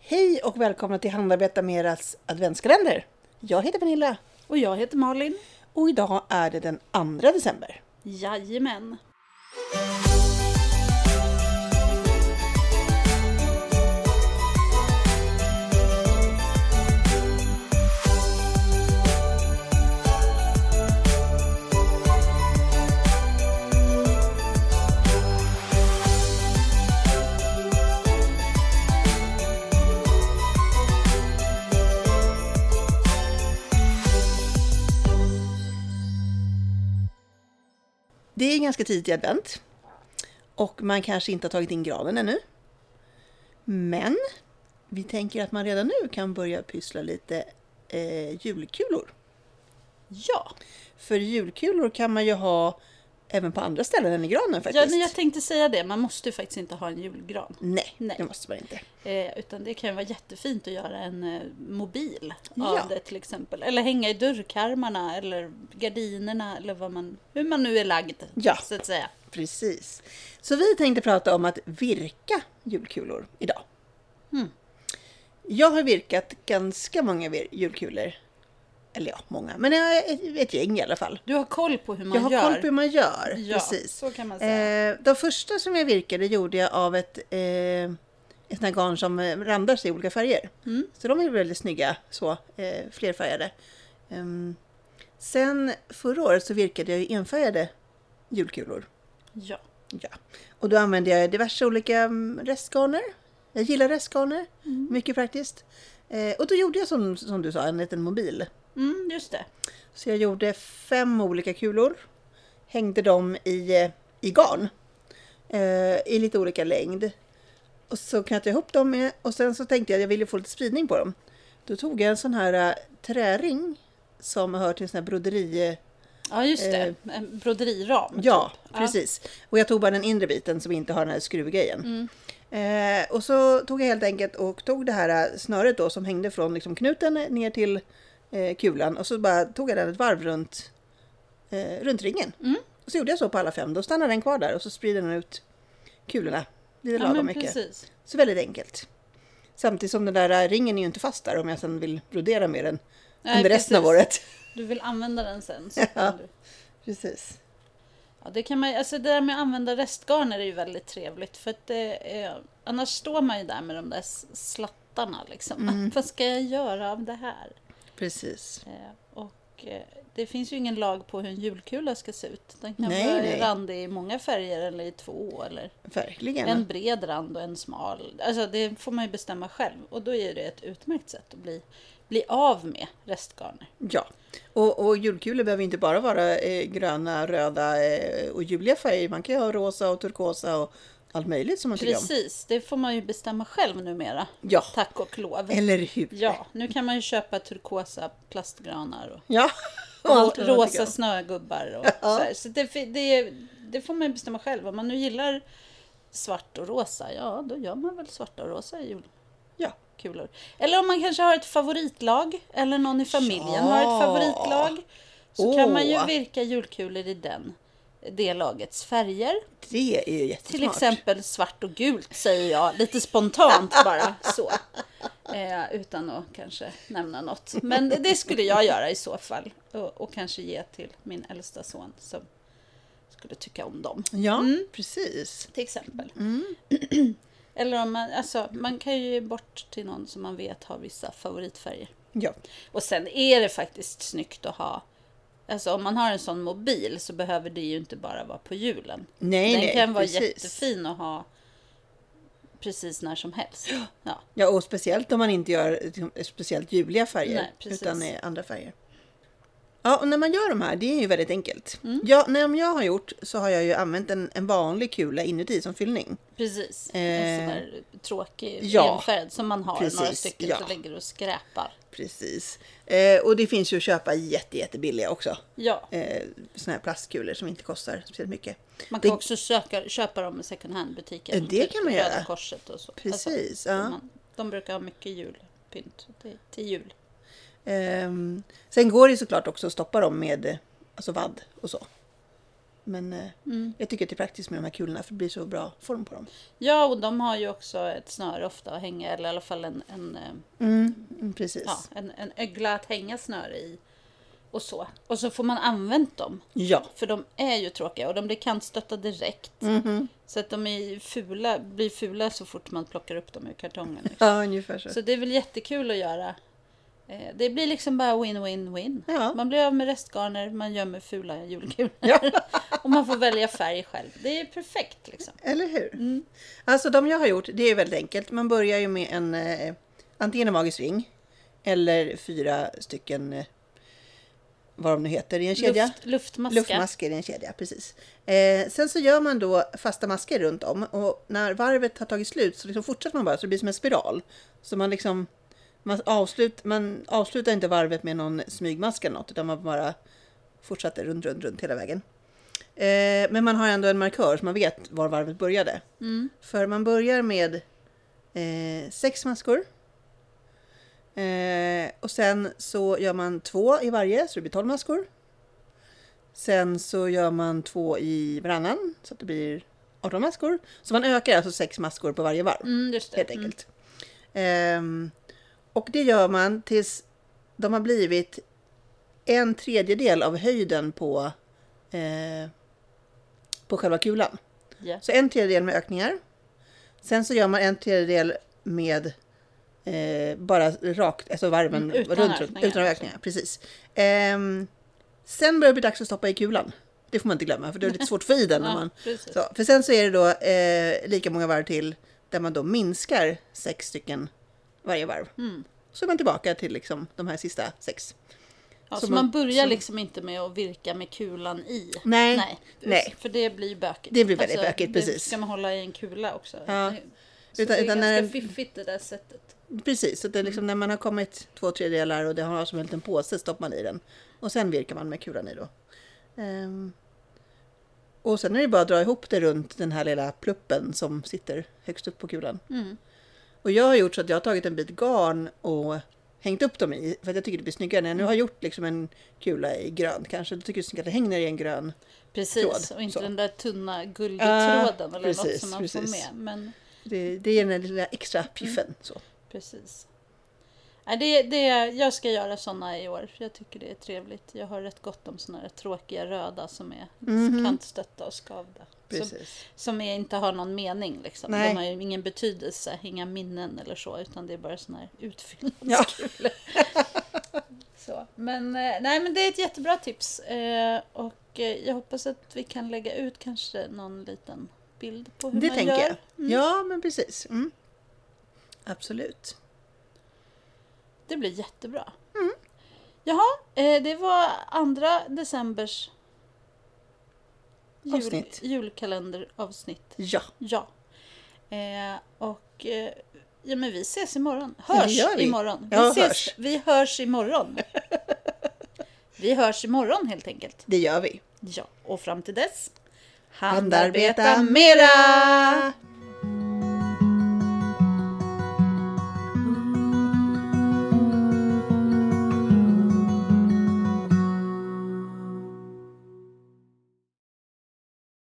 Hej och välkomna till Handarbeta Meras adventskalender. Jag heter Pernilla Och jag heter Malin. och idag är det den 2 december. Jajamän. Det är ganska tidigt i advent och man kanske inte har tagit in granen ännu. Men vi tänker att man redan nu kan börja pyssla lite eh, julkulor. Ja. För julkulor kan man ju ha även på andra ställen än i granen faktiskt. ja men jag tänkte säga det, man måste ju faktiskt inte ha en julgran. Nej, Nej. det måste man inte. Eh, utan det kan ju vara jättefint att göra en eh, mobil Ja. av det till exempel. Eller hänga i dörrkarmarna eller gardinerna eller vad man, hur man nu är lagd. Ja. Så att säga. Precis. Så vi tänkte prata om att virka julkulor idag. Mm. Jag har virkat ganska många vir- julkulor. Eller ja, många, men jag är ett, ett gäng i alla fall. Du har koll på hur man jag har gör. koll på hur man gör. Ja, precis. så kan man säga. Eh, de första som jag virkade gjorde jag av ett, eh, ett sånt här garn som eh, randar sig i olika färger. Mm. Så de är väldigt snygga, så, eh, flerfärgade. Ehm, sen förra året så virkade jag ju enfärgade julkulor. Ja. Ja, och då använder jag diverse olika mm, restgarner. Jag gillar restgarner, mycket praktiskt. Eh, och då gjorde jag som, som du sa, en liten mobil. Mm, just det. Så jag gjorde fem olika kulor. Hängde dem i, eh, i garn. Eh, I lite olika längd. Och så knöt jag ihop dem med, och sen så tänkte jag att jag ville få lite spridning på dem. Då tog jag en sån här eh, träring som hör till en sån här broderi... Ja, just det. En broderiram. Eh. Ja, typ. precis. Och jag tog bara den inre biten som inte har den här Mm. skruvgrejen. Eh, och så tog jag helt enkelt och tog det här eh, snöret då som hängde från liksom knuten ner till eh, kulan och så bara tog jag den ett varv runt, eh, runt ringen. Mm. Och så gjorde jag så på alla fem. Då stannade den kvar där och så sprider den ut kulorna lite Ja, lagom men mycket. precis. Så väldigt enkelt. Samtidigt som den där eh, ringen är ju inte fast där om jag sen vill brodera med den Nej, under resten av precis. året. Du vill använda den sen. Så Ja. kan du... Precis. Ja, det, kan man, ju- alltså det där med att använda restgarner är ju väldigt trevligt. För att det, är- annars står man ju där med de där s- slattarna. Liksom. Mm. Vad ska jag göra av det här? Precis. Eh, och eh, det finns ju ingen lag på hur en julkula ska se ut. Den kan Nej, vara nej. randig i många färger eller i två. Eller Verkligen. en bred rand och en smal. Alltså det får man ju bestämma själv. Och då är det ett utmärkt sätt att bli, bli av med restgarner. Ja, och, och julkulor behöver inte bara vara eh, gröna, röda eh, och ljuvliga färger. Man kan ju ha rosa och turkosa och allt möjligt som man tycker om. Precis, det får man ju bestämma själv numera. Ja, Tack och lov. eller hur? Ja, nu kan man ju köpa turkosa plastgranar och ja. Och allt vad man tycker rosa om. snögubbar. Och så här. så det, fi- det, det får man ju bestämma själv. Om man nu gillar svart och rosa, ja då gör man väl svarta och rosa julkulor. Ja. Eller om man kanske har ett favoritlag, eller någon i familjen har ett favoritlag. Så kan man ju Åh. virka julkulor i den, det lagets färger. Det är ju Till jättesmart. exempel svart och gult säger jag, lite spontant bara så. Eh, utan att kanske nämna något. Men det skulle jag göra i så fall. Och, och kanske ge till min äldsta son som skulle tycka om dem. Ja, Mm. precis. Till exempel. Eller om man, alltså, man kan ju ge bort till någon som man vet har vissa favoritfärger. Ja, Och sen är det faktiskt snyggt att ha Alltså om man har en sån mobil så behöver det ju inte bara vara på julen. Nej, Den nej, kan vara precis. jättefin att ha precis när som helst. Ja, ja och speciellt om man inte gör liksom, speciellt ljuvliga färger Nej, precis. utan eh, andra färger. Ja, och när man gör de här, det är ju väldigt enkelt. Mm. Ja, när jag har gjort så har jag ju använt en, en vanlig kula inuti som fyllning. precis. Eh, En sån där tråkig ja, enfärgad som man har några precis, stycken ja. som ligger och skräpar. Precis. Eh, och det finns ju att köpa jätte, jättebilliga också. Ja, Eh, såna här plastkulor som inte kostar speciellt mycket. man kan det- också söka, köpa dem i second hand-butiker. Eh, det kan man göra. Röda Korset och så. Precis, ja. man, de brukar ha mycket julpynt till, till jul. Ehm, sen går det ju såklart också att stoppa dem med eh, alltså vadd och så. Men eh, Mm. jag tycker att det är praktiskt med de här kulorna för det blir så bra form på dem. Ja, och de har ju också ett snöre ofta att hänga, eller i alla fall en, en, eh, Mm, mm, precis. ja, en, en ögla att hänga snöre i. Och så. Och så får man använt dem. Ja. För de är ju tråkiga och de blir kantstötta direkt. Mhm. Så att de är ju fula, blir fula så fort man plockar upp dem ur kartongen. liksom. Ja, ungefär så. Så det är väl jättekul att göra. Eh, Det blir liksom bara win-win-win. Ja. Man blir av med restgarner, man gömmer fula julkulor. Ja. Och man får välja färg själv. Det är perfekt liksom. Eller hur? Alltså de jag har gjort, det är väldigt enkelt. Man börjar ju med en eh, antingen en magisk ring eller fyra stycken eh, vad de nu heter i en kedja. Luft, luftmaska. Luftmasker i en kedja, precis. Eh, sen så gör man då fasta masker runt om och när varvet har tagit slut så liksom fortsätter man bara så det blir som en spiral. Så man liksom man, avslut, man avslutar inte varvet med någon smygmask eller något utan man bara fortsätter runt, runt, runt hela vägen. Eh, men man har ändå en markör så man vet var varvet började. Mm, För man börjar med eh, sex maskor. Eh, och sen så gör man två i varje så det blir tolv maskor. Sen så gör man två i varannan så att det blir 18 maskor. Så man ökar alltså sex maskor på varje varv Mm, just det. helt enkelt. Ehm, och det gör man tills de har blivit en tredjedel av höjden på, eh, på själva kulan. Mm, ja. Så en tredjedel med ökningar. Sen så gör man en tredjedel med eh, bara rakt, alltså varven Mm, utan runt, runt ökningar. utan ökningar. Precis. Ehm, sen börjar det bli dags att stoppa i kulan. Det får man inte glömma för det är lite svårt att få i den. När Ja, man, precis. så, för sen så är det då eh, lika många varv till där man då minskar sex stycken varje varv. Mm. Så är man tillbaka till liksom de här sista sex. Ja, så så man- man, börjar liksom inte med att virka med kulan i. Nej. Nej. Nej. För det blir ju bökigt. Alltså, Det blir väldigt bökigt, det precis. Ska man hålla i en kula också? Ja. Så Utan- det är utan när ganska den- fiffigt det där sättet. Precis, så det är Mm. liksom när man har kommit två tredjedelar och det har som en liten påse stoppar man i den. Och sen virkar man med kulan i då. Ehm, och sen är det bara att dra ihop det runt den här lilla pluppen som sitter högst upp på kulan. Och jag har gjort så att jag har tagit en bit garn och hängt upp dem i för att jag tycker det blir snyggare. När jag nu har gjort liksom en kula i grönt kanske, då tycker jag det är snyggare att det hänger i en grön. Precis, Tråd, och inte så. den där tunna Ah, guldtråden eller något precis, som man precis. får med. Men Det, det är den där lilla extra Mm. piffen. Så. precis. Nej, det, det, jag ska göra sådana i år. Jag tycker det är trevligt. Jag har rätt gott om sådana här tråkiga röda som är kantstötta och skavda. Som, Mhm. Precis. som är, inte har någon mening liksom. Nej. De har ju ingen betydelse, inga minnen eller så. Utan det är bara sådana här utfyllnadskulor. Ja. Så, men, eh, nej, men det är ett jättebra tips. Eh, och eh, jag hoppas att vi kan lägga ut kanske någon liten bild på hur Det man tänker gör. jag. Mm. Ja, men precis. Mm. Absolut. Det blir jättebra. Mm. Jaha, eh, det var andra decembers Avsnitt. julkalenderavsnitt. Ja, Ja. Eh, och eh, ja, men vi ses imorgon. det Hörs gör vi. imorgon. Ja, vi, ses, hörs. vi hörs imorgon. vi hörs imorgon helt enkelt. det gör vi. Ja, och fram till dess. Handarbeta mera!